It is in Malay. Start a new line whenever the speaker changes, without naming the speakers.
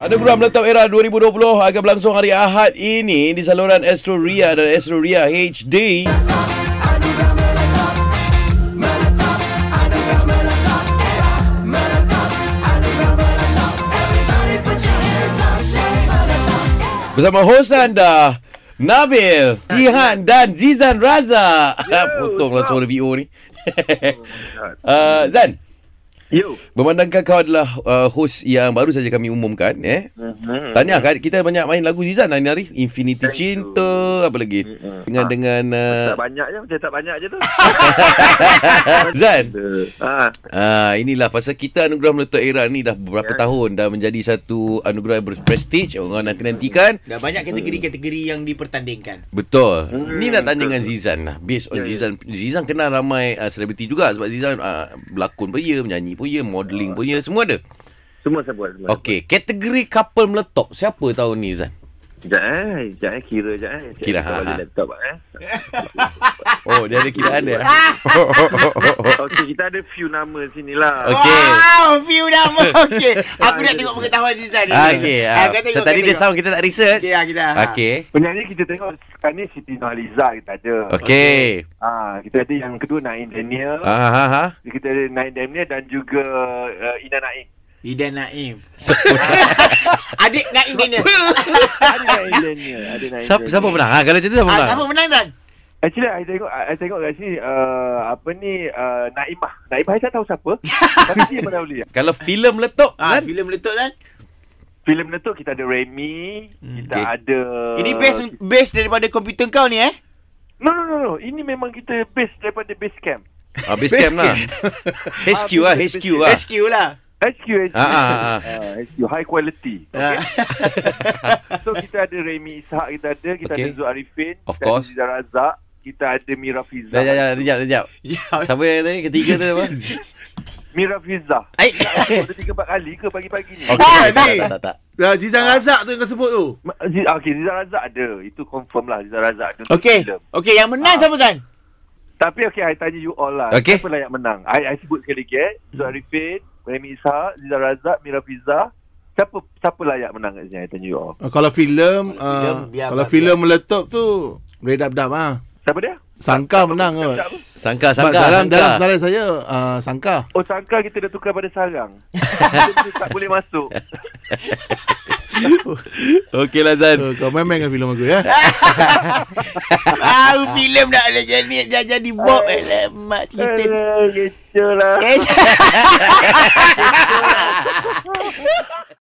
Anugerah Meletup Era 2020 akan berlangsung hari Ahad ini di saluran Astro Ria dan Astro Ria HD. Bersama hos anda, Nabil, Jihan dan Zizan Raza. Potonglah suara VO ni. uh, Zan,
Yo.
Memandangkan kau adalah uh, host yang baru saja kami umumkan eh.
Mm-hmm.
Tanya kan kita banyak main lagu Zizan lah hari hari Infinity
Thank you.
Cinta apa lagi
Mm-mm.
dengan
Ah.
dengan uh,
Tak banyak je, macam tak banyak je tu.
Zan
Eh,
ha,
ah inilah pasal kita anugerah meletup era ni dah beberapa
Ya.
tahun dah menjadi satu anugerah yang berprestij orang nanti-nantikan
Dah banyak kategori-kategori yang dipertandingkan.
Betul.
Hmm,
Ni nak tanya
betul.
dengan Zizan lah. Based
Ya, ya.
on Zizan. Zizan kenal ramai ah, selebriti juga sebab Zizan ah, berlakon pun ya, menyanyi pun ya, modeling pun ya, semua ada.
semua saya buat semua.
Okey, kategori couple meletop siapa tahun ni Zan?
Sekejap eh, sekejap eh, kira sekejap eh. Sekejap,
Kira,
kita
ha,
balik
ha.
laptop eh.
Oh, dia ada kiraan dia.
Eh,
Okey, kita ada few nama sini lah.
Okey.
Wow, view nama. Okey. Aku nak tengok pengetahuan Zizan ni.
Okey. ah, so
kau tengok,
tadi
kau
dia
tengok.
sound kita tak research.
Okey, ah, kita. ah.
Okey.
Penyanyi kita tengok sekarang ni Siti Nurhaliza kita ada.
Okey.
Ha, kita ada yang kedua Naim Daniel.
Ha ha ha.
Kita ada Naim Daniel dan juga uh, Ina Naim.
Ida Naim.
So,
Adik Naim Daniel.
ada Naim Daniel. Ada
Ha,
Naim
siapa
Daniel.
siapa menang? Ha, kalau macam tu siapa
Ah,
menang?
siapa menang Zan?
Actually, I tengok, I I tengok kat sini, uh, apa ni, uh, Naimah. Naimah, I tak tahu siapa. Tapi dia mendahului.
Kalau filem letup
Ah,
kan?
filem meletup Zan.
Filem tu kita ada Remy. Kita
Hmm, Okay.
ada...
Uh,
Ini base base daripada komputer kau ni eh.
No, no, no, no. Ini memang kita base daripada base camp.
Habis camp lah. HQ ah,
Ah,
HQ
betul,
ah.
SQ lah.
HQ, HQ.
Ah, ah, ah.
Ah, HQ, high quality.
Ah.
So kita ada Remy Ishak kita ada, kita
Okay.
okay. ada Zul Arifin,
Of
kita
course.
ada Zizar Razak, kita ada Mira Fiza.
Dah, dah, dah, kejap, kejap.
Ya.
Siapa yang tadi ketiga tu apa?
Mira Fiza.
Ai.
Sudah tiga empat kali ke pagi-pagi ni?
Okey,
Ah,
tak, tak,
ni.
tak, tak, tak.
Zizan Razak tu yang kau sebut tu.
Ma- Ziz- Okey, Zizar Razak ada. Itu confirm lah Zizar Razak ada. untuk
Okey.
filem.
Okey, yang menang
Ah.
siapa Zan?
Tapi okey, I tanya you all lah.
Okey.
Siapa layak menang? I, I sebut sekali lagi eh. Zul Arifin, Remy Ishak, Zizar Razak, Mira Fiza. Siapa siapa layak menang kat sini? I tanya you all.
Uh, kalau filem uh,
biar-
kalau
biar-
filem meletup tu Red Up Dub ah.
Siapa dia?
Sangka menang kot.
Sangka,
Sebab
sangka,
dalam
sangka.
dalam tarikh saya uh, sangka.
Oh, sangka kita dah tukar pada sarang. Kita tak boleh masuk.
Okey lah, Zan.
So, kau main-main dengan filem aku ya.
Ah, filem dah ada jadi dah jadi bob eh. Lemak cerita.
Alah, kecoh lah.
Eh,